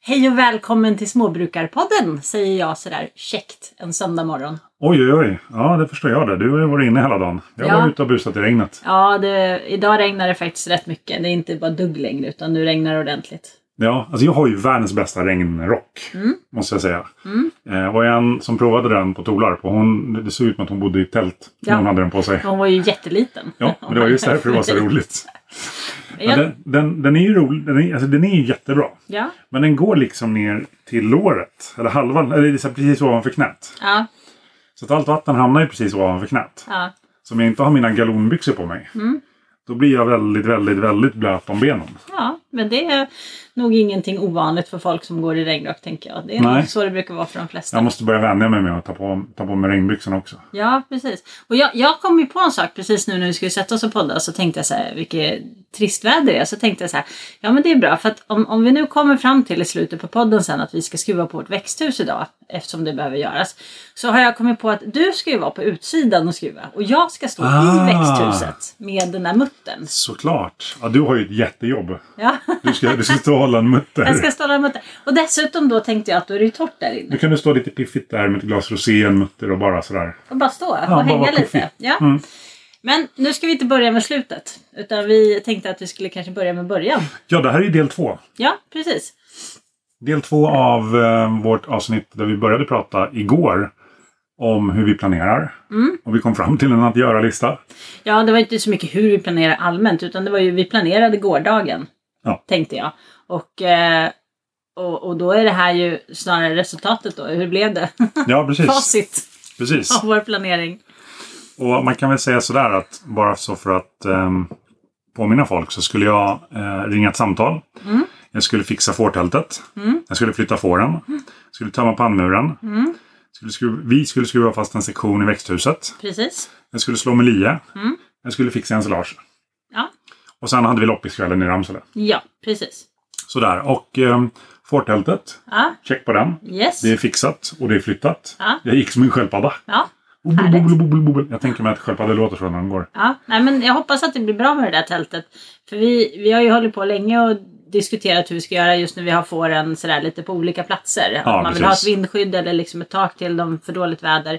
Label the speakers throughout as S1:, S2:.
S1: Hej och välkommen till Småbrukarpodden, säger jag sådär käckt en söndag morgon.
S2: Oj, oj, oj. Ja, det förstår jag det. Du har ju varit inne hela dagen. Jag
S1: Ja.
S2: var ute och busat i regnet.
S1: Ja, det, idag regnar det faktiskt rätt mycket. Det är inte bara dugg längre, utan nu regnar det ordentligt.
S2: Ja, alltså jag har ju världens bästa regnrock.
S1: Mm.
S2: Måste jag säga. Eh, och en som provade den på Tolarp. Och hon, det såg ut som att hon bodde i tält. när
S1: Ja.
S2: Hon hade den på sig.
S1: Hon var ju jätteliten.
S2: Ja, men det var just därför det var så roligt. Men
S1: Ja,
S2: den, den, den är ju rolig. Den är, alltså, den är ju jättebra.
S1: ja,
S2: Men den går liksom ner till låret. Eller halva, eller liksom precis ovanför knät.
S1: ja,
S2: Så att allt vatten hamnar ju precis ovanför knät.
S1: ja.
S2: Så om jag inte har mina galonbyxor på mig.
S1: Mm.
S2: Då blir jag väldigt, väldigt, väldigt blöt om benen.
S1: ja, men det är nog ingenting ovanligt för folk som går i regnrock, tänker jag. Det är
S2: Nej.
S1: nog så det brukar vara för de flesta.
S2: Jag måste börja vänja mig med att ta på, ta på mig regnbyxorna också.
S1: Ja, precis. Och jag, jag kom ju på en sak precis nu när vi skulle sätta oss och podda så tänkte jag så här, vilket trist väder det är. Så tänkte jag så här, ja men det är bra för att om, om vi nu kommer fram till i slutet på podden sen att vi ska skruva på vårt växthus idag eftersom det behöver göras. Så har jag kommit på att du ska ju vara på utsidan och skruva och jag ska stå
S2: Ah.
S1: i växthuset med den där muttern.
S2: Såklart! Ja, du har ju ett jättejobb.
S1: Ja,
S2: Du ska, du ska stå och hålla en mutter.
S1: jag ska stå där med muttern. Och dessutom då tänkte jag att då är det ju torrt där inne.
S2: Nu kan du stå lite piffigt där med ett glas rosé, en mutter och bara sådär.
S1: Och bara stå och
S2: bara
S1: hänga
S2: vara
S1: lite.
S2: fiffig.
S1: Ja.
S2: Mm.
S1: Men nu ska vi inte börja med slutet. Utan vi tänkte att vi skulle kanske börja med början.
S2: Ja, det här är ju del två.
S1: Ja, precis.
S2: Del två av eh, vårt avsnitt där vi började prata igår om hur vi planerar.
S1: Mm.
S2: Och vi kom fram till en att göra-lista.
S1: Ja, det var inte så mycket hur vi planerar allmänt. Utan det var ju vi planerade gårdagen.
S2: Ja.
S1: Tänkte jag. Och, eh, och, och då är det här ju snarare resultatet då. Hur blev det?
S2: Ja, precis.
S1: Facit
S2: precis.
S1: av vår planering.
S2: Och man kan väl säga sådär att bara så för att ehm, påminna folk så skulle jag eh, ringa ett samtal.
S1: Mm.
S2: Jag skulle fixa fårtältet. Jag skulle flytta fåren. Jag skulle tömma pannmuren.
S1: Mm.
S2: Skulle skruva, vi skulle skruva fast en sektion i växthuset.
S1: Precis.
S2: Jag skulle slå med lie.
S1: Mm.
S2: Jag skulle fixa ensilage.
S1: Ja,
S2: Och sen hade vi loppiskvällen i Ramsele.
S1: ja precis.
S2: Sådär. Och ehm, fårtältet.
S1: Ja,
S2: Check på den.
S1: yes.
S2: Det är fixat och det är flyttat.
S1: Ja.
S2: Jag gick som en sköldpadda.
S1: Ja.
S2: Bubel,
S1: Härligt.
S2: bubel, bubel, bubel. Jag tänker mig att sköldpaddor låter så när de går.
S1: Ja, nej, men jag hoppas att det blir bra med det där tältet. För vi, vi har ju hållit på länge och diskuterat hur vi ska göra just nu. Vi har fåren sådär lite på olika platser.
S2: Ja,
S1: Om man vill ha ett
S2: precis.
S1: vindskydd eller liksom ett tak till dem för dåligt väder. Eh,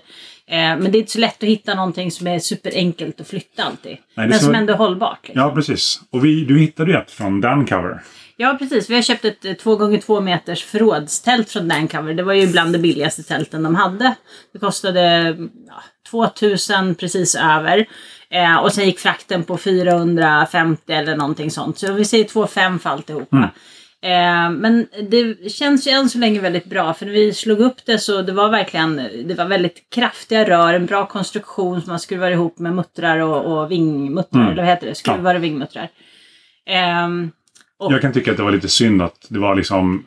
S1: men det är inte så lätt att hitta någonting som är superenkelt att flytta alltid. men
S2: så-
S1: som ändå är hållbart. Liksom.
S2: Ja, precis. Och vi, du hittade ju ett från Dancover.
S1: Ja, precis. Vi har köpt ett eh, 2x2 meters förrådstält från Dancover. Det var ju bland de billigaste tälten de hade. Det kostade mm, ja, 2000 precis över. Eh, och sen gick frakten på 450 eller någonting sånt. Så vi säger 25 för alltihopa. Eh, men det känns ju än så länge väldigt bra för när vi slog upp det så det var verkligen det var väldigt kraftiga rör, en bra konstruktion som man skruvar ihop med muttrar och, och vingmuttrar. Eller vad heter det? Skruvar och vingmuttrar. Ehm, och-
S2: Jag kan tycka att det var lite synd att det var liksom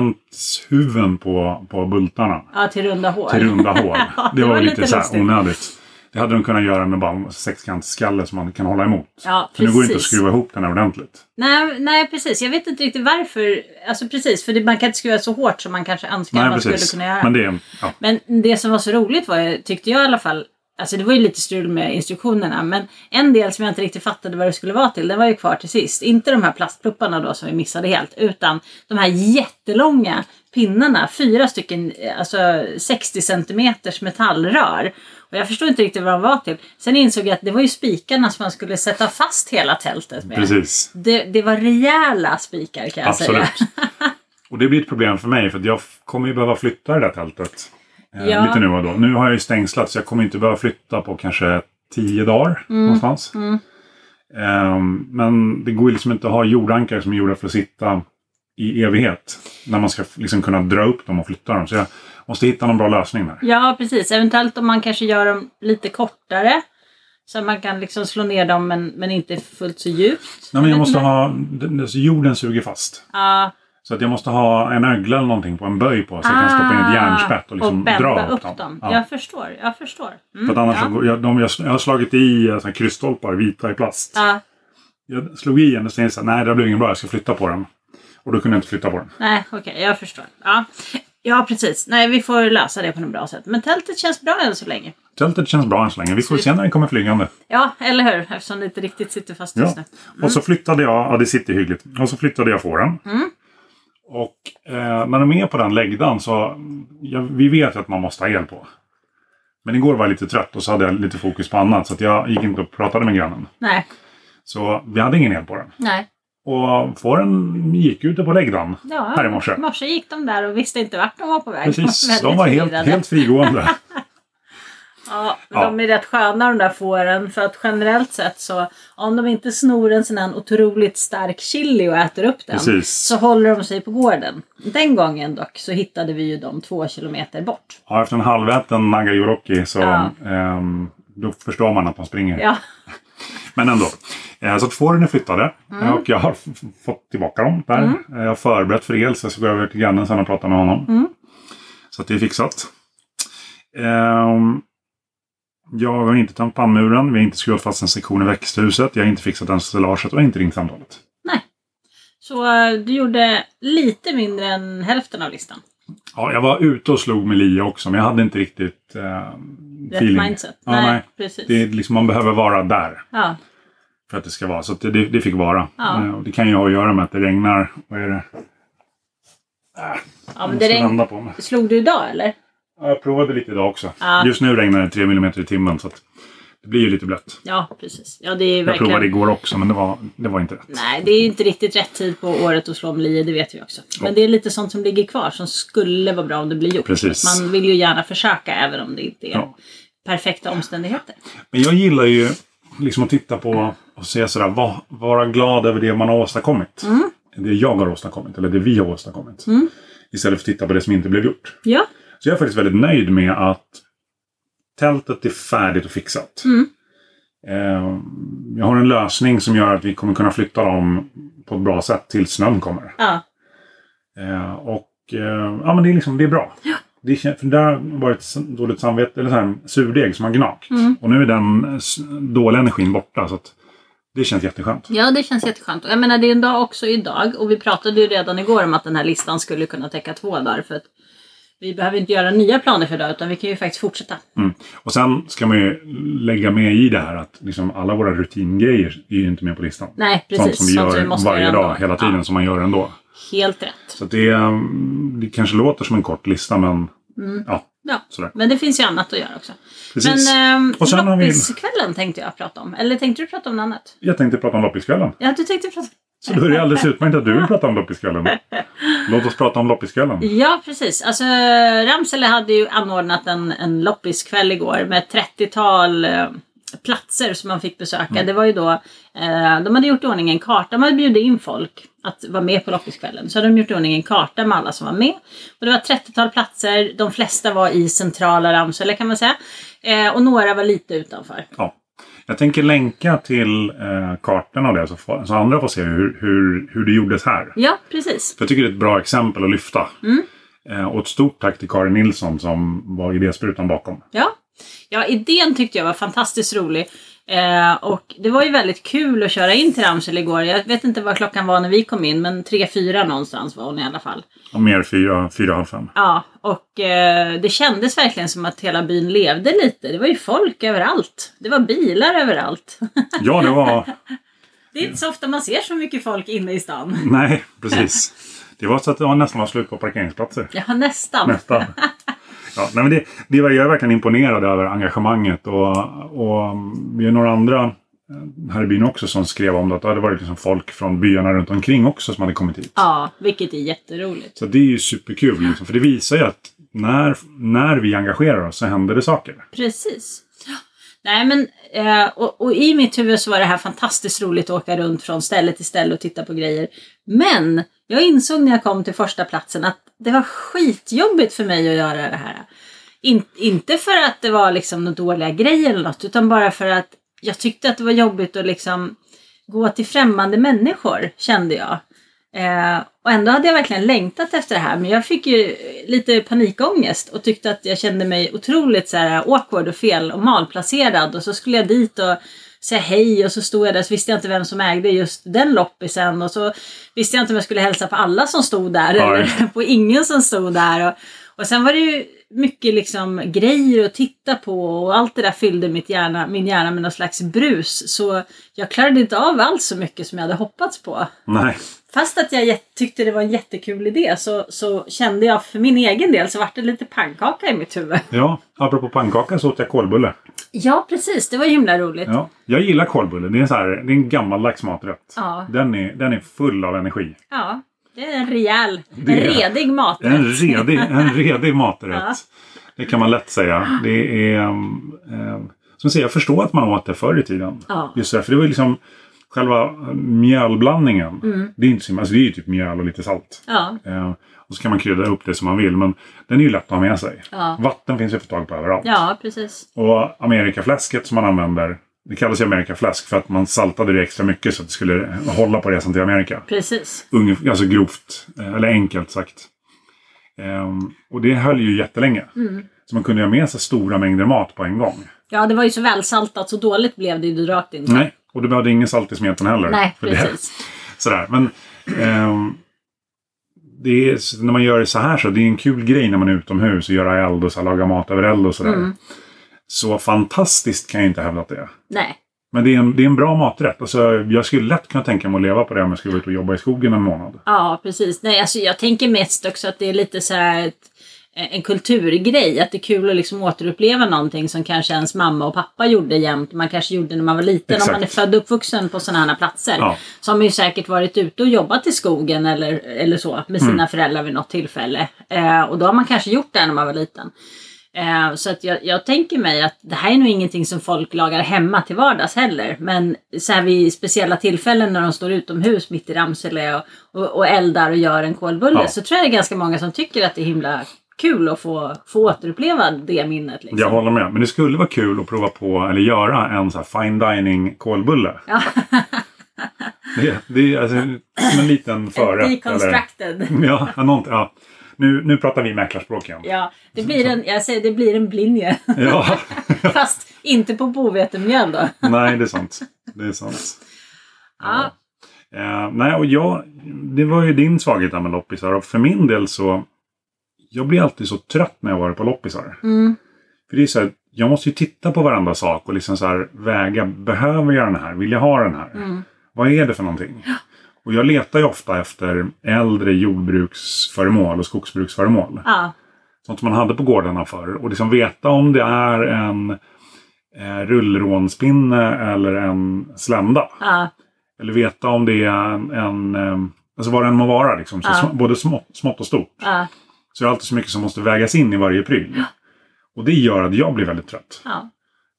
S2: fyrkantshuven på, på bultarna.
S1: Ja, till runda hår.
S2: Till runda hål.
S1: Ja,
S2: Det var lite så
S1: lustigt.
S2: här onödigt. Det hade de kunnat göra med bara en sexkantsskalle som man kan hålla emot.
S1: Ja,
S2: För nu går det inte att
S1: precis.
S2: skruva ihop den här ordentligt.
S1: Nej, nej, precis. Jag vet inte riktigt varför. Alltså precis, för det, man kan inte skruva så hårt som man kanske önskar
S2: Nej,
S1: man
S2: precis.
S1: skulle kunna göra.
S2: Men det, ja.
S1: Men det som var så roligt var ju, tyckte jag i alla fall, alltså det var ju lite strul med instruktionerna, men en del som jag inte riktigt fattade vad det skulle vara till, den var ju kvar till sist. Inte de här plastplupparna då som vi missade helt, utan de här jättelånga pinnarna, fyra stycken, eh, alltså 60 centimeters metallrör. Och jag förstod inte riktigt vad de var till. Sen insåg jag att det var ju spikarna som man skulle sätta fast hela tältet med.
S2: Precis.
S1: Det, det var rejäla spikar kan jag säga.
S2: Absolut. Och det blir ett problem för mig för att jag f- kommer ju behöva flytta det där tältet. eh,
S1: Ja.
S2: Lite nu och då. Nu har jag ju stängslat så jag kommer inte behöva flytta på kanske tio dagar
S1: Mm.
S2: någonstans. Ehm, men det går ju liksom inte att ha jordankare som är gjorda för att sitta i evighet. När man ska f- liksom kunna dra upp dem och flytta dem. Så jag måste hitta någon bra lösning där.
S1: Ja, precis. Eventuellt om man kanske gör dem lite kortare. Så att man kan liksom slå ner dem men, men inte fullt så djupt.
S2: Nej, men jag
S1: vet
S2: måste
S1: inte.
S2: ha... den- den- Jorden suger fast.
S1: Ja,
S2: Så att jag måste ha en ögla eller någonting på en böj på så jag kan stoppa in ett järnspett och liksom
S1: bända
S2: dra
S1: Ah, upp
S2: upp
S1: dem.
S2: dem.
S1: Jag förstår. Jag förstår. Mm,
S2: För att annars
S1: ja.
S2: så går, jag, de, jag, jag har slagit i eh, såna här kryssstolpar, vita i plast.
S1: Ja,
S2: Jag slog i en och sen så här, nej det här blev ingen bra, jag ska flytta på den. Och då kunde jag inte flytta på den.
S1: nej, okej. jag förstår. Ja. ja, precis. Nej, vi får lösa det på något bra sätt. Men tältet känns bra än så länge.
S2: Tältet känns bra än så länge. Vi får se när den kommer flygande.
S1: Ja, eller hur? Eftersom det inte riktigt sitter fast
S2: Ja.
S1: just Mm. nu. Mm.
S2: Och så flyttade jag, ja det sitter hyggligt. Och så flyttade jag fåren. Och eh, när de är på den läggdagen så... Ja, vi vet ju att man måste ha el på. Men igår var jag lite trött och så hade jag lite fokus på annat så att jag gick inte och pratade med grannen.
S1: Nej.
S2: Så vi hade ingen el på den.
S1: Nej.
S2: Och fåren gick ute på läggdagen
S1: Ja.
S2: här i morse.
S1: I morse gick de där och visste inte vart de var på väg.
S2: Precis,
S1: väldigt
S2: de var helt,
S1: förvirrade.
S2: helt frigående.
S1: Ja, men
S2: Ja.
S1: de är rätt sköna de där fåren. För att generellt sett så, om de inte snor en sån här otroligt stark chili och äter upp den.
S2: Precis.
S1: Så håller de sig på gården. Den gången dock så hittade vi ju dem två kilometer bort.
S2: Ja, efter en halväten Nagayoroki så
S1: Ja.
S2: ehm, då förstår man att de springer.
S1: Ja,
S2: Men ändå. Eh, så att fåren är flyttade
S1: Mm.
S2: eh, och jag har f- f- fått tillbaka dem där. Eh, jag har förberett för el så jag ska gå över till grannen sen och prata med honom.
S1: Mm.
S2: Så att det är fixat. Ehm, jag har inte tömt pannmuren, vi har inte skruvat fast en sektion i växthuset, jag har inte fixat ensilaget och jag har inte ringt samtalet.
S1: så eh, du gjorde lite mindre än hälften av listan.
S2: Ja, jag var ute och slog med lia också, men jag hade inte riktigt eh,
S1: Rätt
S2: feeling.
S1: mindset.
S2: Ja, nej.
S1: precis.
S2: Det är liksom, man behöver vara där.
S1: Ja,
S2: För att det ska vara. Så att det, det, det fick vara.
S1: Ja.
S2: Eh, och det kan ju ha att göra med att det regnar. Vad är det?
S1: ja
S2: Jag
S1: men
S2: måste
S1: det regn...
S2: vända på mig.
S1: Slog du idag eller?
S2: Ja, jag provade lite idag också.
S1: Ja.
S2: Just nu regnar det 3 mm i timmen så att det blir ju lite blött.
S1: Ja, precis. Ja, det är
S2: Jag
S1: verkligen...
S2: provade igår också men det var, det var inte rätt.
S1: Nej, det är inte riktigt rätt tid på året att slå om lie, det vet vi också. Men det är lite sånt som ligger kvar som skulle vara bra om det blir gjort.
S2: Precis.
S1: Man vill ju gärna försöka även om det inte är
S2: Ja.
S1: perfekta omständigheter.
S2: Men jag gillar ju liksom att titta på och se sådär, va, vara glad över det man har åstadkommit.
S1: Mm.
S2: Det jag har åstadkommit eller det vi har åstadkommit. Istället för att titta på det som inte blev gjort.
S1: Ja,
S2: Så jag är faktiskt väldigt nöjd med att tältet är färdigt och fixat.
S1: Mm.
S2: Eh, Jag har en lösning som gör att vi kommer kunna flytta dem på ett bra sätt tills snön kommer.
S1: ja,
S2: Eh, Och eh, ja, men det är liksom, det är bra. Det kän- för där var det ett s- dåligt samvete, eller så här, surdeg som har gnagt.
S1: Mm.
S2: Och nu är den eh, s- dåliga energin borta. Så att det känns jätteskönt.
S1: ja, det känns jätteskönt. Och Jag menar, det är en dag också idag och vi pratade ju redan igår om att den här listan skulle kunna täcka två dagar. För att vi behöver inte göra nya planer för idag utan vi kan ju faktiskt fortsätta.
S2: Mm. Och sen ska man ju lägga med i det här att liksom alla våra rutingrejer är ju inte med på listan.
S1: Nej, precis.
S2: Sånt som vi gör varje
S1: göra
S2: dag,
S1: ändå.
S2: hela tiden,
S1: Ja,
S2: som man gör ändå.
S1: helt rätt.
S2: Så att det, mm, det kanske låter som en kort lista, men ja,
S1: Ja.
S2: sådär.
S1: Men det finns ju annat att göra också.
S2: Precis.
S1: Mm. Men
S2: Och sen
S1: eh,
S2: har vi-
S1: loppiskvällen tänkte jag prata om. Eller tänkte du prata om något annat?
S2: Jag tänkte prata om loppiskvällen.
S1: Ja, du tänkte prata
S2: Så då är det alldeles utmärkt att du vill prata om loppiskvällen. Låt oss prata om loppiskvällen.
S1: Ja, precis. Alltså, Ramsele hade ju anordnat en, en loppiskväll igår med ett 30-tal eh, platser som man fick besöka. Det var ju då, eh, de hade gjort i ordning en karta. De hade bjudit in folk att vara med på loppiskvällen. Så hade de gjort i ordning en karta med alla som var med. Och det var 30-tal platser. De flesta var i centrala Ramsele kan man säga. Eh, och några var lite utanför.
S2: Ja. Jag tänker länka till eh, kartan och det så, får, så andra får se hur, hur, hur det gjordes här.
S1: Ja, precis.
S2: För jag tycker det är ett bra exempel att lyfta.
S1: Mm.
S2: Eh, och ett stort tack till Karin Nilsson som var idésprutan bakom.
S1: Ja. ja, idén tyckte jag var fantastiskt rolig. Eh, och det var ju väldigt kul att köra in till Ramsele igår. Jag vet inte vad klockan var när vi kom in, men 3-4 någonstans var hon i alla fall.
S2: Och mer fyra, fyra halv fem.
S1: Ja, och eh, det kändes verkligen som att hela byn levde lite. Det var ju folk överallt. Det var bilar överallt.
S2: Ja, det var...
S1: Det är inte så ofta man ser så mycket folk inne i stan.
S2: Nej, precis. Det var så att det var nästan var slut på parkeringsplatser.
S1: Ja, nästan.
S2: Nästan. Ja, nej, men det, det var, jag är verkligen imponerad över engagemanget. Och, och mm, vi är några andra eh, här i byn också som skrev om det. Att det hade varit liksom folk från byarna runt omkring också som hade kommit hit.
S1: Ja, vilket är jätteroligt.
S2: Så det är ju superkul. Liksom, för det visar ju att när, när vi engagerar oss så händer det saker.
S1: Precis. Ja. Nej, men, eh, och, och i mitt huvud så var det här fantastiskt roligt att åka runt från ställe till ställe och titta på grejer. Men jag insåg när jag kom till första platsen att det var skitjobbigt för mig att göra det här. In, inte för att det var liksom några dåliga grejer eller något, utan bara för att jag tyckte att det var jobbigt att liksom gå till främmande människor, kände jag. Eh, och ändå hade jag verkligen längtat efter det här, men jag fick ju lite panikångest och tyckte att jag kände mig otroligt så här awkward och fel och malplacerad. Och så skulle jag dit och säga hej och så stod jag där så visste jag inte vem som ägde just den loppisen och så visste jag inte om jag skulle hälsa på alla som stod där
S2: Ja,
S1: eller
S2: just
S1: på ingen som stod där. Och, och sen var det ju mycket liksom grejer att titta på och allt det där fyllde mitt hjärna, min hjärna med någon slags brus. Så jag klarade inte av alls så mycket som jag hade hoppats på.
S2: Nej,
S1: Fast att jag jätt- tyckte det var en jättekul idé så, så kände jag för min egen del så vart det lite pannkaka i mitt huvud.
S2: Ja, apropå pannkaka så åt jag kolbulle.
S1: Ja, precis. Det var himla roligt.
S2: Ja. Jag gillar kolbulle. Det är, så här, det är en gammaldags maträtt.
S1: Ja.
S2: Den, är, den är full av energi.
S1: Ja, det är en rejäl,
S2: Det
S1: en
S2: är-
S1: redig maträtt.
S2: En redig, en redig maträtt. Det kan man lätt säga. Det är... ehm, ehm, som jag säger, jag förstår att man åt det förr i tiden.
S1: Ja.
S2: Just det, för det var ju liksom själva mjölblandningen.
S1: Mm.
S2: Det är inte så himla- alltså det är ju typ mjöl och lite salt.
S1: Ja,
S2: Eh, och så kan man krydda upp det som man vill. Men den är ju lätt att ha med sig.
S1: Ja.
S2: Vatten finns ju för tag på överallt.
S1: ja, precis.
S2: Och amerikafläsket som man använder. Det kallas ju amerikafläsk för att man saltade det extra mycket så att det skulle hålla på resan till Amerika.
S1: Precis.
S2: Ungef- alltså grovt, eh, eller enkelt sagt. Ehm, och det höll ju jättelänge.
S1: Mm.
S2: Så man kunde ju ha med sig stora mängder mat på en gång.
S1: Ja, det var ju så välsaltat så dåligt blev det ju rakt inte.
S2: Nej, och du behövde ingen salt i smeten heller.
S1: Nej,
S2: För det-
S1: precis.
S2: Sådär. Men ehm, det är, så när man gör så här så, det är en kul grej när man är utomhus och gör eld och så här, laga mat över eld och sådär.
S1: Mm.
S2: Så fantastiskt kan jag inte hävda att det är.
S1: Nej.
S2: Men det är en, det är en bra maträtt. Alltså, jag skulle lätt kunna tänka mig att leva på det om jag skulle gå ut och jobba i skogen en månad.
S1: Ja, precis. Nej, alltså jag tänker mest också att det är lite så här ett, en kulturgrej. Att det är kul att liksom återuppleva någonting som kanske ens mamma och pappa gjorde jämt. Man kanske gjorde när man var liten.
S2: Exakt.
S1: Om man är född och uppvuxen på sådana här platser.
S2: Ja.
S1: Så har man ju säkert varit ute och jobbat i skogen eller, eller så med
S2: Mm.
S1: sina föräldrar vid något tillfälle. Eh, och då har man kanske gjort det när man var liten. Eh, så att jag, jag tänker mig att det här är nog ingenting som folk lagar hemma till vardags heller. Men så här vid speciella tillfällen när de står utomhus mitt i Ramsele och, och, och eldar och gör en kolbulle
S2: Ja.
S1: så tror jag det är ganska många som tycker att det är himla kul att få, få återuppleva det minnet. Liksom.
S2: Jag håller med. Men det skulle vara kul att prova på, eller göra, en så här fine dining kolbulle.
S1: Ja.
S2: Det, det är alltså, som en liten förrätt. eller-
S1: Deconstructed.
S2: Ja, nånt, ja. Nu, nu pratar vi mäklarspråk igen.
S1: Ja, det blir en, jag säger det blir en blinje.
S2: Ja.
S1: Fast inte på bovetemjöl då.
S2: Nej, det är sant. Det är sant.
S1: Ja.
S2: Eh, nej, och jag, det var ju din svaghet där med loppisar. Och för min del så... Jag blir alltid så trött när jag varit på loppisar.
S1: Mm.
S2: För det är så här, jag måste ju titta på varandra sak och liksom så här väga. Behöver jag den här? Vill jag ha den här? Vad är det för någonting? Och jag letar ju ofta efter äldre jordbruksföremål och skogsbruksföremål
S1: Ja.
S2: sånt som man hade på gårdarna förr. Och liksom veta om det är en eh, rullrånspinne eller en slända.
S1: ja.
S2: Eller veta om det är en, en eh, alltså vad det än må vara, liksom, så
S1: Ja.
S2: sm- både smått, smått och stort.
S1: Ja,
S2: Så det är alltid så mycket som måste vägas in i varje pryl. Och det gör att jag blir väldigt trött.
S1: ja,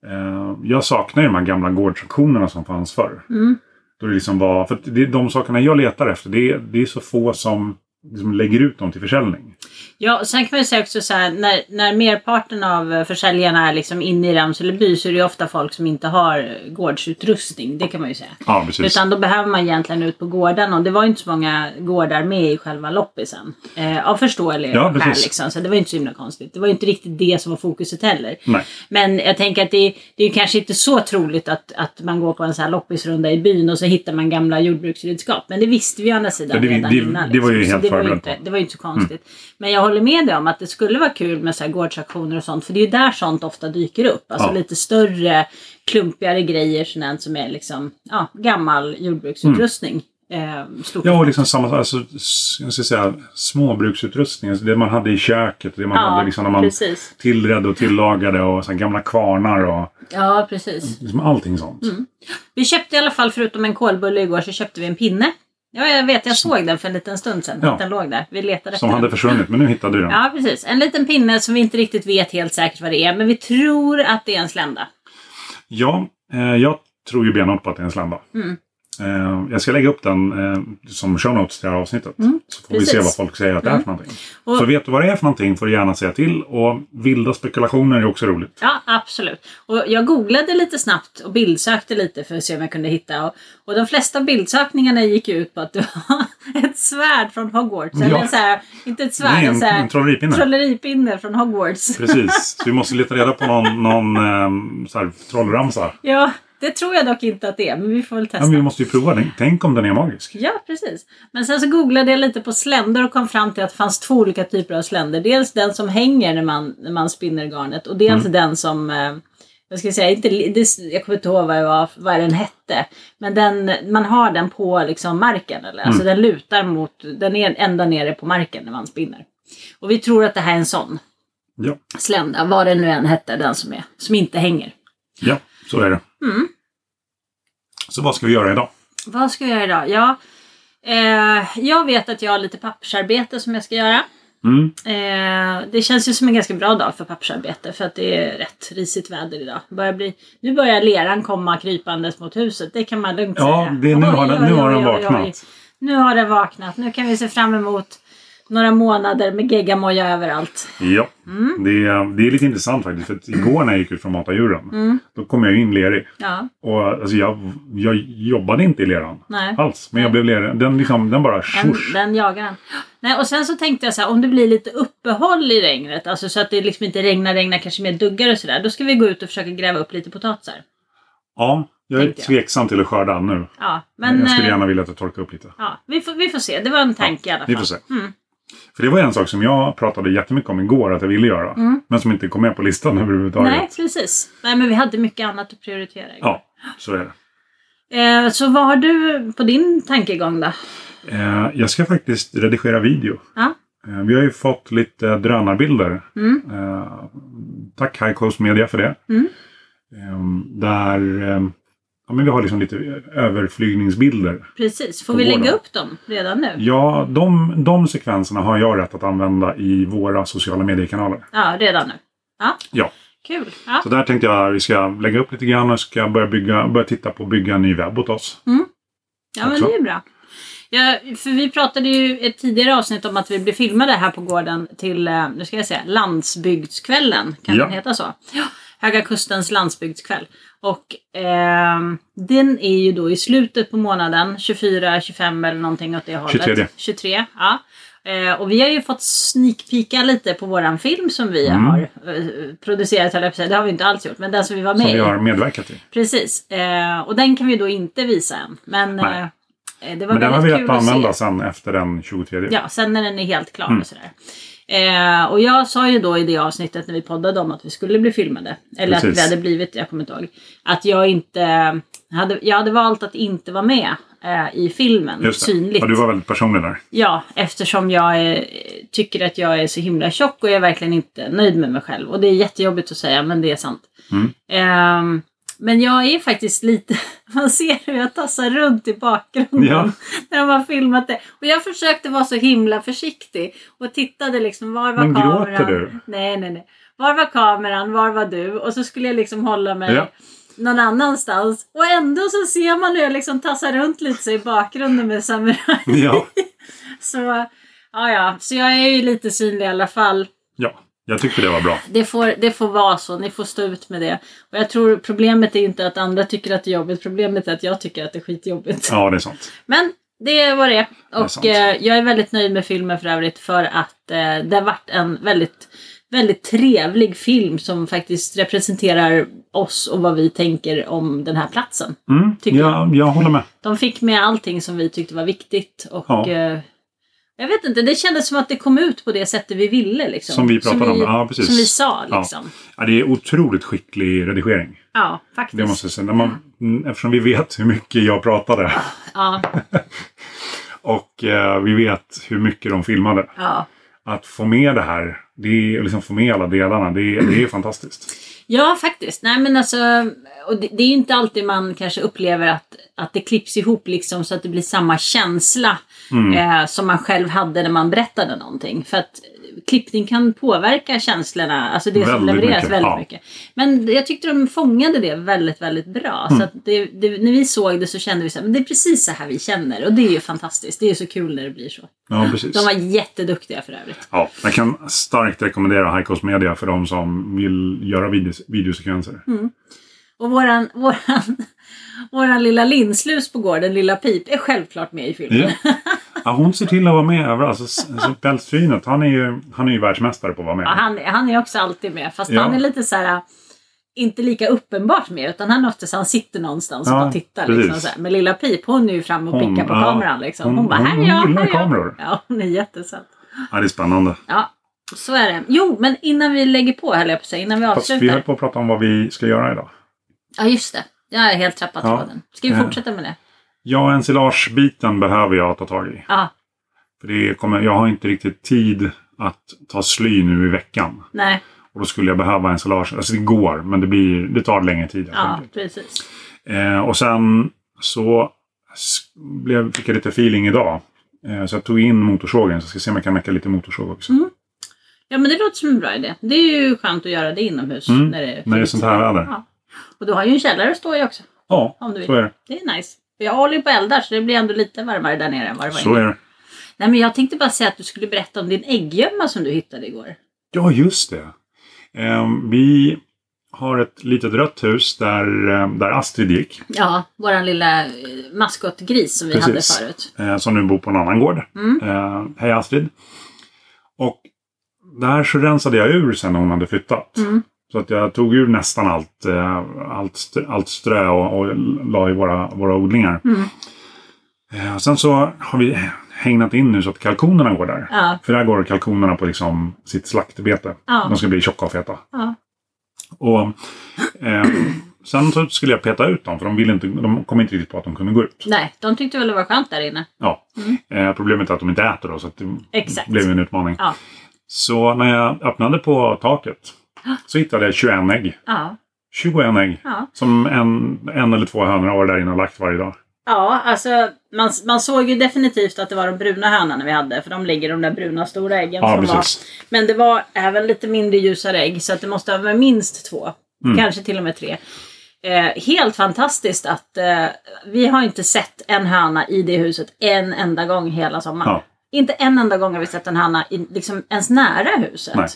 S2: Eh, jag saknar ju de här gamla gårdsauktionerna som fanns förr.
S1: Mm.
S2: Då det liksom var, för att det, de sakerna jag letar efter, det, är- det är så få som liksom lägger ut dem till försäljning.
S1: ja. och Sen kan man ju säga också så här, när, när merparten av eh, försäljarna är liksom inne i Ramsele by så är det ju ofta folk som inte har eh, gårdsutrustning. Det kan man ju säga.
S2: Ja, precis.
S1: Utan då behöver man egentligen ut på gårdarna och det var ju inte så många gårdar med i själva loppisen. Eh, av förståeliga
S2: Ja,
S1: skäl
S2: precis.
S1: liksom. Så det var ju inte så himla konstigt. Det var ju inte riktigt det som var fokuset heller.
S2: Nej.
S1: Men jag tänker att det, det är ju kanske inte så troligt att, att man går på en så här loppisrunda i byn och så hittar man gamla jordbruksredskap. Men det visste vi å andra sidan
S2: Ja, det-
S1: redan
S2: det-
S1: innan. liksom.
S2: det var ju
S1: Så
S2: helt
S1: det var ju
S2: förberett
S1: inte,
S2: på.
S1: det var ju inte så
S2: Mm.
S1: konstigt. Men jag håller med dig om att det skulle vara kul med så här gårdsauktioner och sånt. För det är ju där sånt ofta dyker upp. Alltså
S2: Ja.
S1: lite större, klumpigare grejer sånt som är liksom ja, gammal jordbruksutrustning. Eh, stort.
S2: Ja, och liksom samma, alltså, s- jag ska säga, småbruksutrustning. Alltså det man hade i köket. Det man
S1: Ja,
S2: hade liksom när man
S1: precis.
S2: tillredde och tillagade. Och så här gamla kvarnar och
S1: ja, precis.
S2: liksom allting sånt.
S1: Mm, Vi köpte i alla fall, förutom en kolbulle igår, så köpte vi en pinne. Ja, jag vet, jag såg den för en liten stund sedan.
S2: Ja.
S1: Att den låg där. Vi letade efter
S2: Som hade
S1: den.
S2: försvunnit, men nu hittade du den.
S1: Ja, precis. En liten pinne som vi inte riktigt vet helt säkert vad det är. Men vi tror att det är en slända.
S2: Ja, eh, jag tror ju benhårt på att det är en slända.
S1: Mm.
S2: Eh, jag ska lägga upp den eh, som show notes till det här avsnittet. så får vi se
S1: Mm, precis. Mm.
S2: vad folk säger att det är för någonting.
S1: Och-
S2: Så vet du vad det är för någonting får du gärna säga till. Och vilda spekulationer är också roligt.
S1: Ja, absolut. Och jag googlade lite snabbt och bildsökte lite för att se om jag kunde hitta. Och, och de flesta bildsökningarna gick ju ut på att det var ett svärd från Hogwarts.
S2: Ja.
S1: Eller så här, inte ett svärd,
S2: Nej,
S1: en,
S2: en,
S1: så här,
S2: en trolleripinne.
S1: trolleripinne från Hogwarts.
S2: Precis, så vi måste leta reda på någon, någon eh, så här, trollramsa.
S1: Ja, det tror jag dock inte att det är, men vi får väl
S2: Ja,
S1: testa.
S2: men vi måste ju prova den. Tänk om den är magisk.
S1: Ja, precis. Men sen så googlade jag lite på sländor och kom fram till att det fanns två olika typer av sländor. Dels den som hänger när man, när man spinner garnet och dels den som eh, vad ska jag säga, inte, li- det, jag kommer inte ihåg vad, jag var, vad den hette. Men den, man har den på liksom marken, eller? alltså den lutar mot, den är ända nere på marken när man spinner. Och vi tror att det här är en sån
S2: Ja,
S1: slända, vad den nu än hette, den som, är, som inte hänger.
S2: ja så är det.
S1: Mm.
S2: Så vad ska vi göra idag?
S1: Vad ska jag göra idag? Ja, eh, jag vet att jag har lite pappersarbete som jag ska göra.
S2: Mm.
S1: Eh, det känns ju som en ganska bra dag för pappersarbete för att det är rätt risigt väder idag. Det Börjar bli, nu börjar leran komma krypandes mot huset, det kan man lugnt
S2: Ja,
S1: säga.
S2: det, nu, har
S1: Oj,
S2: den,
S1: oj,
S2: nu har
S1: oj,
S2: den
S1: oj, oj.
S2: vaknat.
S1: Nu har den vaknat. Nu kan vi se fram emot några månader med geggamoja överallt.
S2: Ja,
S1: Mm.
S2: det, är- det är lite intressant faktiskt. För att igår när jag gick ut från Mata djuren,
S1: Mm.
S2: då kom jag ju in lerig.
S1: Ja,
S2: Och alltså, jag, jag jobbade inte i leran
S1: nej.
S2: alls. Men jag blev lerig. Den, liksom, den bara
S1: Den,
S2: swoosh.
S1: den jagar han. Nej, och sen så tänkte jag så här, om det blir lite uppehåll i regnet, alltså så att det liksom inte regnar, regnar kanske mer duggar och sådär, då ska vi gå ut och försöka gräva upp lite potatisar.
S2: Ja, jag är
S1: Tänkte jag.
S2: tveksam till att skörda nu.
S1: Ja, men...
S2: Men, jag skulle
S1: eh,
S2: gärna vilja att det torkar upp lite.
S1: Ja, vi får, vi får se. Det var en tanke i alla fall.
S2: Vi får se.
S1: Mm.
S2: För det var en sak som jag pratade jättemycket om igår att jag ville göra. Men som inte kom med på listan överhuvudtaget.
S1: Mm. Nej, precis. Nej, men vi hade mycket annat att prioritera. igår.
S2: Ja, så är det.
S1: Eh, så vad har du på din tankegång då?
S2: Eh, jag ska faktiskt redigera video.
S1: Ja.
S2: Eh, vi har ju fått lite drönarbilder.
S1: Mm.
S2: Eh, tack High Coast Media för det.
S1: Mm.
S2: Eh, där eh, ja, men vi har liksom lite överflygningsbilder.
S1: Precis, får
S2: På
S1: vi
S2: vår
S1: lägga
S2: då?
S1: upp dem redan nu?
S2: Ja, de, de sekvenserna har jag rätt att använda i våra sociala mediekanaler.
S1: Ja, redan nu. Ja.
S2: Ja.
S1: Kul. Ja.
S2: Så där tänkte jag att vi ska lägga upp lite grann och ska börja, bygga, börja titta på att bygga en ny webb åt oss.
S1: ja, men
S2: också.
S1: det är bra. Ja, för vi pratade ju i ett tidigare avsnitt om att vi blev filmade här på gården till, eh, nu ska jag säga, landsbygdskvällen. Kan
S2: Ja.
S1: den heta så? Ja. Höga Kustens landsbygdskväll. Och ehm, den är ju då i slutet på månaden, 24, 25 eller någonting åt det hållet.
S2: 23.
S1: 23, ja. Eh, och vi har ju fått sneakpika lite på våran film som vi
S2: Mm.
S1: har eh, producerat, höll jag på att säga. Det har vi inte alls gjort, men den som vi var med
S2: Som vi
S1: i.
S2: har medverkat i.
S1: Precis. Eh, och den kan vi då inte visa än. Men
S2: Nej.
S1: eh, det var
S2: Men den har vi
S1: väldigt
S2: rätt
S1: kul
S2: att
S1: att
S2: använda Mm.
S1: se.
S2: sen efter den 23.
S1: Ja, sen när den är helt klar och sådär. Eh, och jag sa ju då i det avsnittet när vi poddade om att vi skulle bli filmade. Eller att vi
S2: Precis.
S1: hade blivit, jag kommer inte ihåg. Att jag inte hade, jag hade valt att inte vara med eh, i filmen
S2: Just det.
S1: synligt.
S2: Ja, du var väldigt personlig där.
S1: Ja, eftersom jag är, tycker att jag är så himla tjock och jag är verkligen inte nöjd med mig själv. Och det är jättejobbigt att säga, men det är sant.
S2: Mm.
S1: Ehm, men jag är faktiskt lite... Man ser hur jag tassar runt i bakgrunden
S2: Ja.
S1: när de har filmat det. Och jag försökte vara så himla försiktig och tittade liksom var var
S2: Men
S1: kameran?
S2: gråter du?
S1: Nej, nej, nej. Var var kameran? Var var du? Och så skulle jag liksom hålla mig
S2: Ja.
S1: någon annanstans. Och ändå så ser man hur jag liksom tassar runt lite så i bakgrunden med samurai.
S2: Ja.
S1: Så, ja, ja. så jag är ju lite synlig i alla fall.
S2: ja, jag tyckte det var bra.
S1: Det får, det får vara så, ni får stå ut med det. Och jag tror problemet är inte att andra tycker att det är jobbigt, problemet är att jag tycker att det är skitjobbigt.
S2: Ja, det är sant.
S1: Men det var det.
S2: är
S1: Och
S2: sant.
S1: eh, jag är väldigt nöjd med filmen för övrigt för att eh, det har varit en väldigt, väldigt trevlig film som faktiskt representerar oss och vad vi tänker om den här platsen.
S2: Mm,
S1: Tycker
S2: jag, jag håller med.
S1: De fick med allting som vi tyckte var viktigt. Och,
S2: Ja.
S1: eh, jag vet inte, det kändes som att det kom ut på det sättet vi ville. Liksom.
S2: Som vi pratade om, ja, precis.
S1: Som vi sa
S2: Ja.
S1: liksom. Ja,
S2: Ja, det är otroligt skicklig redigering.
S1: faktiskt.
S2: Det måste jag säga. När man, mm, eftersom vi vet hur mycket jag pratade
S1: Ja,
S2: och eh, vi vet hur mycket de filmade.
S1: ja.
S2: Att få med det här, det är, liksom få med alla delarna, det, är- det är fantastiskt.
S1: ja, faktiskt. Nej, men alltså, och det, det är ju inte alltid man kanske upplever att, att det klipps ihop liksom, så att det blir samma känsla
S2: Mm.
S1: eh, som man själv hade när man berättade någonting. För att klippning kan påverka känslorna, alltså det som
S2: Väldigt
S1: levereras
S2: mycket,
S1: väldigt
S2: ja.
S1: mycket. Men jag tyckte de fångade det väldigt, väldigt bra.
S2: Mm.
S1: Så att det, det, när vi såg det så kände vi så här, men det är precis så här vi känner. Och det är ju fantastiskt. Det är ju så kul när det blir så.
S2: Ja, precis.
S1: De var jätteduktiga för övrigt.
S2: Ja, jag kan starkt rekommendera High Cost Media för de som vill göra videos, videosekvenser.
S1: Mm. Och våran, våran, våran lilla linslus på gården, lilla Pip, är självklart med i filmen.
S2: Ja. Ja, hon ser till att vara med överallt. Alltså, Så- så Pälsvinet, han är ju, han är ju världsmästare på att vara med.
S1: Ja, han, han är också alltid med, fast
S2: Ja.
S1: han är lite så här inte lika uppenbart med utan han är oftast han sitter någonstans och
S2: Ja,
S1: bara tittar.
S2: precis.
S1: Liksom, så här. Men lilla Pip hon är ju framme och
S2: Hon,
S1: pickar på
S2: Mm, ja. mm,
S1: kameran. Liksom. Hon,
S2: Hon-
S1: bara
S2: hon-
S1: här är
S2: hon
S1: jag,
S2: gillar
S1: här är jag.
S2: kameror.
S1: Ja, hon är jättesöt.
S2: Ja, det är spännande.
S1: Ja, Så är det. Jo, men innan vi lägger på höll jag på att säga, innan vi
S2: Fast vi höll
S1: avslutar.
S2: på att prata om vad vi ska göra idag.
S1: Ja, just det. Jag har helt tappat
S2: Ja.
S1: tråden. Ska vi
S2: Eh.
S1: fortsätta med det?
S2: Ja, ensilagebiten behöver jag ta tag i.
S1: Ja,
S2: För det kommer, jag har inte riktigt tid att ta sly nu i veckan.
S1: nej.
S2: Och då skulle jag behöva ensilage. Alltså det går, men det, blir, det tar längre tid. helt
S1: Ja,
S2: enkelt.
S1: precis.
S2: Eh, och sen så s- blev, fick jag lite feeling idag. Eh, så jag tog in motorsågen. Så ska jag se om jag kan mecka lite motorsåg
S1: Mm.
S2: också.
S1: Ja, men det låter som en bra idé. Det är ju skönt att göra det inomhus
S2: Mm,
S1: när det är
S2: När det är sånt här väder.
S1: Ja. Och du har ju en källare att stå i också,
S2: Ja,
S1: om du vill.
S2: så är det.
S1: Det är nice. För Jag håller ju på att eldar, så det blir ändå lite varmare där nere än vad det var
S2: Så
S1: inne.
S2: är det.
S1: Nej, men jag tänkte bara säga att du skulle berätta om din ägggömma som du hittade igår.
S2: Ja, just det. Ehm, vi har ett litet rött hus där, eh, där Astrid gick.
S1: Ja, våran lilla eh, maskotgris som vi hade
S2: Precis.
S1: förut.
S2: Eh, som nu bor på en annan gård.
S1: Mm.
S2: Eh, hej Astrid. Och där så rensade jag ur sen när hon hade flyttat.
S1: Mm.
S2: Så att jag tog ur nästan allt, eh, allt, st- allt strö och, och la i våra, våra odlingar.
S1: Mm.
S2: Eh, och sen så har vi hängnat in nu så att kalkonerna går där.
S1: Ja,
S2: För där går kalkonerna på liksom sitt slaktbete.
S1: Ja.
S2: De ska bli tjocka och feta.
S1: ja.
S2: Och, eh, sen så skulle jag peta ut dem för de, ville inte, de kom inte riktigt på att de kunde gå ut.
S1: Nej, de tyckte väl det var skönt där inne.
S2: Ja. Eh, problemet är att de inte äter då så att det
S1: Exakt.
S2: blev en utmaning.
S1: Ja.
S2: Så när jag öppnade på taket så hittade jag 21 ägg.
S1: Ja,
S2: 21 ägg.
S1: ja.
S2: Som en, en eller två hönor har varit där inne och lagt varje dag.
S1: ja alltså man, man såg ju definitivt att det var de bruna hönorna vi hade. För de ligger de där bruna stora äggen.
S2: Ja,
S1: som var.
S2: precis.
S1: Men det var även lite mindre ljusare ägg. Så att det måste ha varit minst två.
S2: Mm.
S1: Kanske till och med tre. Eh, helt fantastiskt att eh, vi har inte sett en höna i det huset en enda gång hela sommaren.
S2: Ja.
S1: Inte en enda gång har vi sett en höna i, liksom, ens nära huset.
S2: Nej.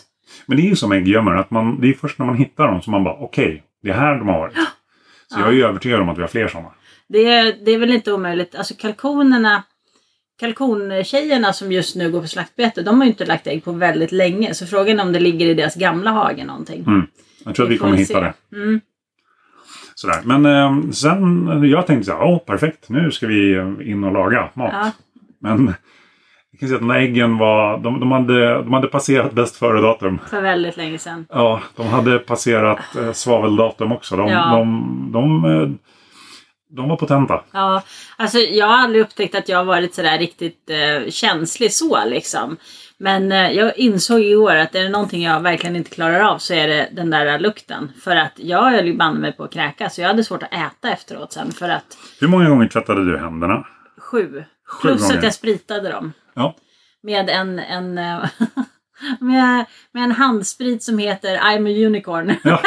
S2: Men det är ju som äggömmor, att man, det är först när man hittar dem som man bara okej, det är här de har varit. Så jag är ju övertygad om att vi har fler sådana.
S1: Det är, det är väl inte omöjligt. Alltså kalkonerna, kalkontjejerna som just nu går på slaktbete, de har ju inte lagt ägg på väldigt länge. Så frågan är om det ligger i deras gamla hage någonting.
S2: Jag tror att
S1: Vi
S2: vi
S1: får
S2: kommer
S1: väl
S2: hitta
S1: se. Mm.
S2: det. Sådär. Men eh, sen, eh, jag tänkte så här, åh perfekt, nu ska vi eh, in och laga mat.
S1: Ja.
S2: Men jag kan säga att de där äggen var, de, de, hade, de hade passerat bäst före-datum.
S1: För väldigt länge sedan.
S2: Ja, de hade passerat eh, svaveldatum också. De,
S1: Ja.
S2: de, de, eh, de var potenta.
S1: Ja, alltså jag har aldrig upptäckt att jag har varit sådär riktigt eh, känslig så liksom. Men eh, jag insåg igår att är det någonting jag verkligen inte klarar av så är det den där lukten. För att jag höll ju banne mig på att kräkas. Så jag hade svårt att äta efteråt sen för att
S2: Hur många gånger tvättade du händerna?
S1: sju. Plus
S2: gånger.
S1: att jag spritade dem.
S2: Ja,
S1: Med en, en, eh, med, med en handsprit som heter I'm a unicorn.
S2: ja.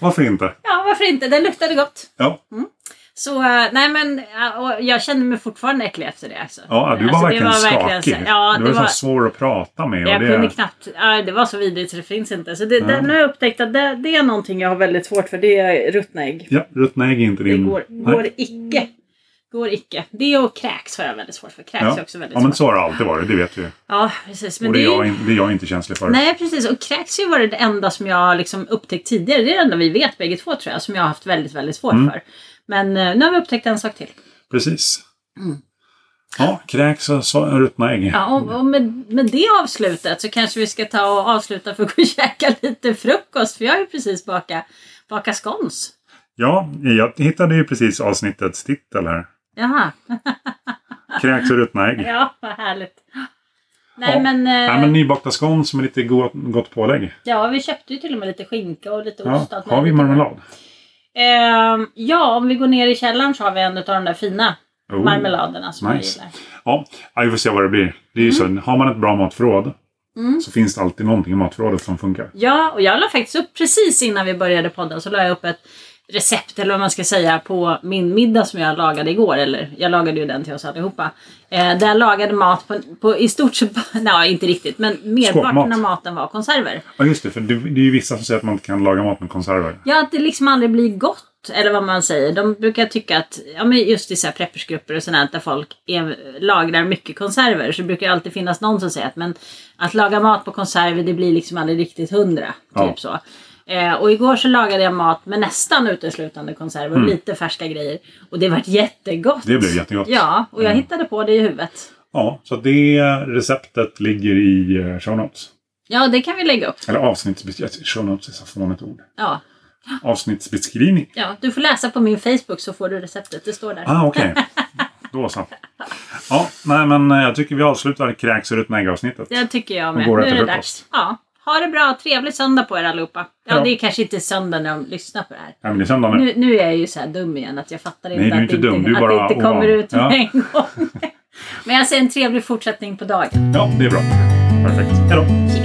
S2: varför inte?
S1: Ja, varför inte? Den luktade gott.
S2: Ja,
S1: Så eh, nej men eh, och jag känner mig fortfarande äcklig efter det. Alltså.
S2: ja du var
S1: Alltså, det
S2: verkligen skakig.
S1: så- Ja,
S2: du
S1: det
S2: var,
S1: var,
S2: så svår att prata med.
S1: jag
S2: och
S1: kunde
S2: det,
S1: knappt. Ja, det var så vidrigt så det finns inte. Så det, det, nu har jag upptäckt att det, det är någonting jag har väldigt svårt för. Det är ruttna ägg.
S2: ja, ruttna ägg är inte
S1: Det
S2: din...
S1: går,
S2: Mm. Nej.
S1: går icke. Går icke. Det och kräks har jag väldigt svårt för. Kräks
S2: Ja.
S1: är också väldigt
S2: ja, men
S1: svårt.
S2: så har det alltid varit, det vet vi ju.
S1: Ja, precis. Men
S2: Och det är
S1: det är
S2: jag, in- det är jag inte känslig för.
S1: Nej precis och kräks ju var det enda som jag har liksom upptäckt tidigare. Det är det enda vi vet bägge två tror jag som jag har haft väldigt väldigt svårt
S2: Mm.
S1: för. Men eh, nu har vi upptäckt en sak till.
S2: Precis. Ja, kräks och så- ruttna ägg.
S1: Mm. Ja, och och med, med det avslutet så kanske vi ska ta och avsluta för att gå och käka lite frukost. För jag har ju precis bakat baka scones.
S2: Ja, jag hittade ju precis avsnittets titel här.
S1: Jaha,
S2: Kräks och ruttna ägg.
S1: ja vad härligt. Nej
S2: Ja.
S1: men, eh,
S2: Nej, men nybakta scones med lite gott, gott pålägg.
S1: ja vi köpte ju till och med lite skinka och lite
S2: Ja,
S1: ost. och allt
S2: har vi
S1: möjligt.
S2: marmelad?
S1: Ehm, ja, om vi går ner i källaren så har vi en av de där fina
S2: Oh,
S1: marmeladerna som
S2: nice.
S1: jag gillar.
S2: Ja, ja, vi får se vad det blir. Det är ju
S1: Mm.
S2: så, har man ett bra matförråd så finns det alltid någonting i matförrådet som funkar.
S1: Ja, och jag la faktiskt upp precis innan vi började podda så la jag upp ett recept eller vad man ska säga på min middag som jag lagade igår. Eller jag lagade ju den till oss allihopa. Eh, där jag lagade mat på, på i stort sett, nej inte riktigt, men merparten
S2: Skåpmat.
S1: av maten var konserver.
S2: Ja, just det. För det, det är ju vissa som säger att man inte kan laga mat med konserver.
S1: Ja, att det liksom aldrig blir gott. Eller vad man säger. De brukar tycka att, ja men just i så här preppersgrupper och sånt här, där folk är, lagrar mycket konserver så brukar det alltid finnas någon som säger att men att laga mat på konserver det blir liksom aldrig riktigt hundra. Typ
S2: Ja.
S1: så. Eh, och igår så lagade jag mat med nästan uteslutande konserver och lite färska grejer. Och det vart jättegott.
S2: Mm. Det blev jättegott. Mm.
S1: Ja, och jag hittade på det i huvudet.
S2: Ja, så att det receptet ligger i eh, show notes.
S1: Ja, det kan vi lägga upp.
S2: Eller avsnittsbeskrivning. Show notes är så fånigt ord.
S1: Ja.
S2: Avsnittsbeskrivning.
S1: ja, du får läsa på min Facebook så får du receptet. Det står där.
S2: Ah, okej. Då så. Ja, nej men eh, jag tycker vi avslutar kräks ur ett avsnittet
S1: Det tycker jag
S2: Och
S1: med.
S2: går
S1: Nu är
S2: äta
S1: det
S2: frukost.
S1: dags. Ja. Ha det bra. Trevlig söndag på er allihopa. Ja,
S2: Ja.
S1: det är kanske inte söndag när de lyssnar på det här.
S2: Ja, men det är söndag nu.
S1: Nu, nu är jag ju så här dum igen att jag fattar inte
S2: Nej, du är
S1: att,
S2: inte
S1: det,
S2: dum.
S1: inte,
S2: Du är
S1: att
S2: bara
S1: det inte kommer
S2: ovan.
S1: ut
S2: Ja.
S1: med en gång. Men jag säger en trevlig fortsättning på dagen.
S2: Ja, det är bra. Perfekt. Hej då.
S1: Hej.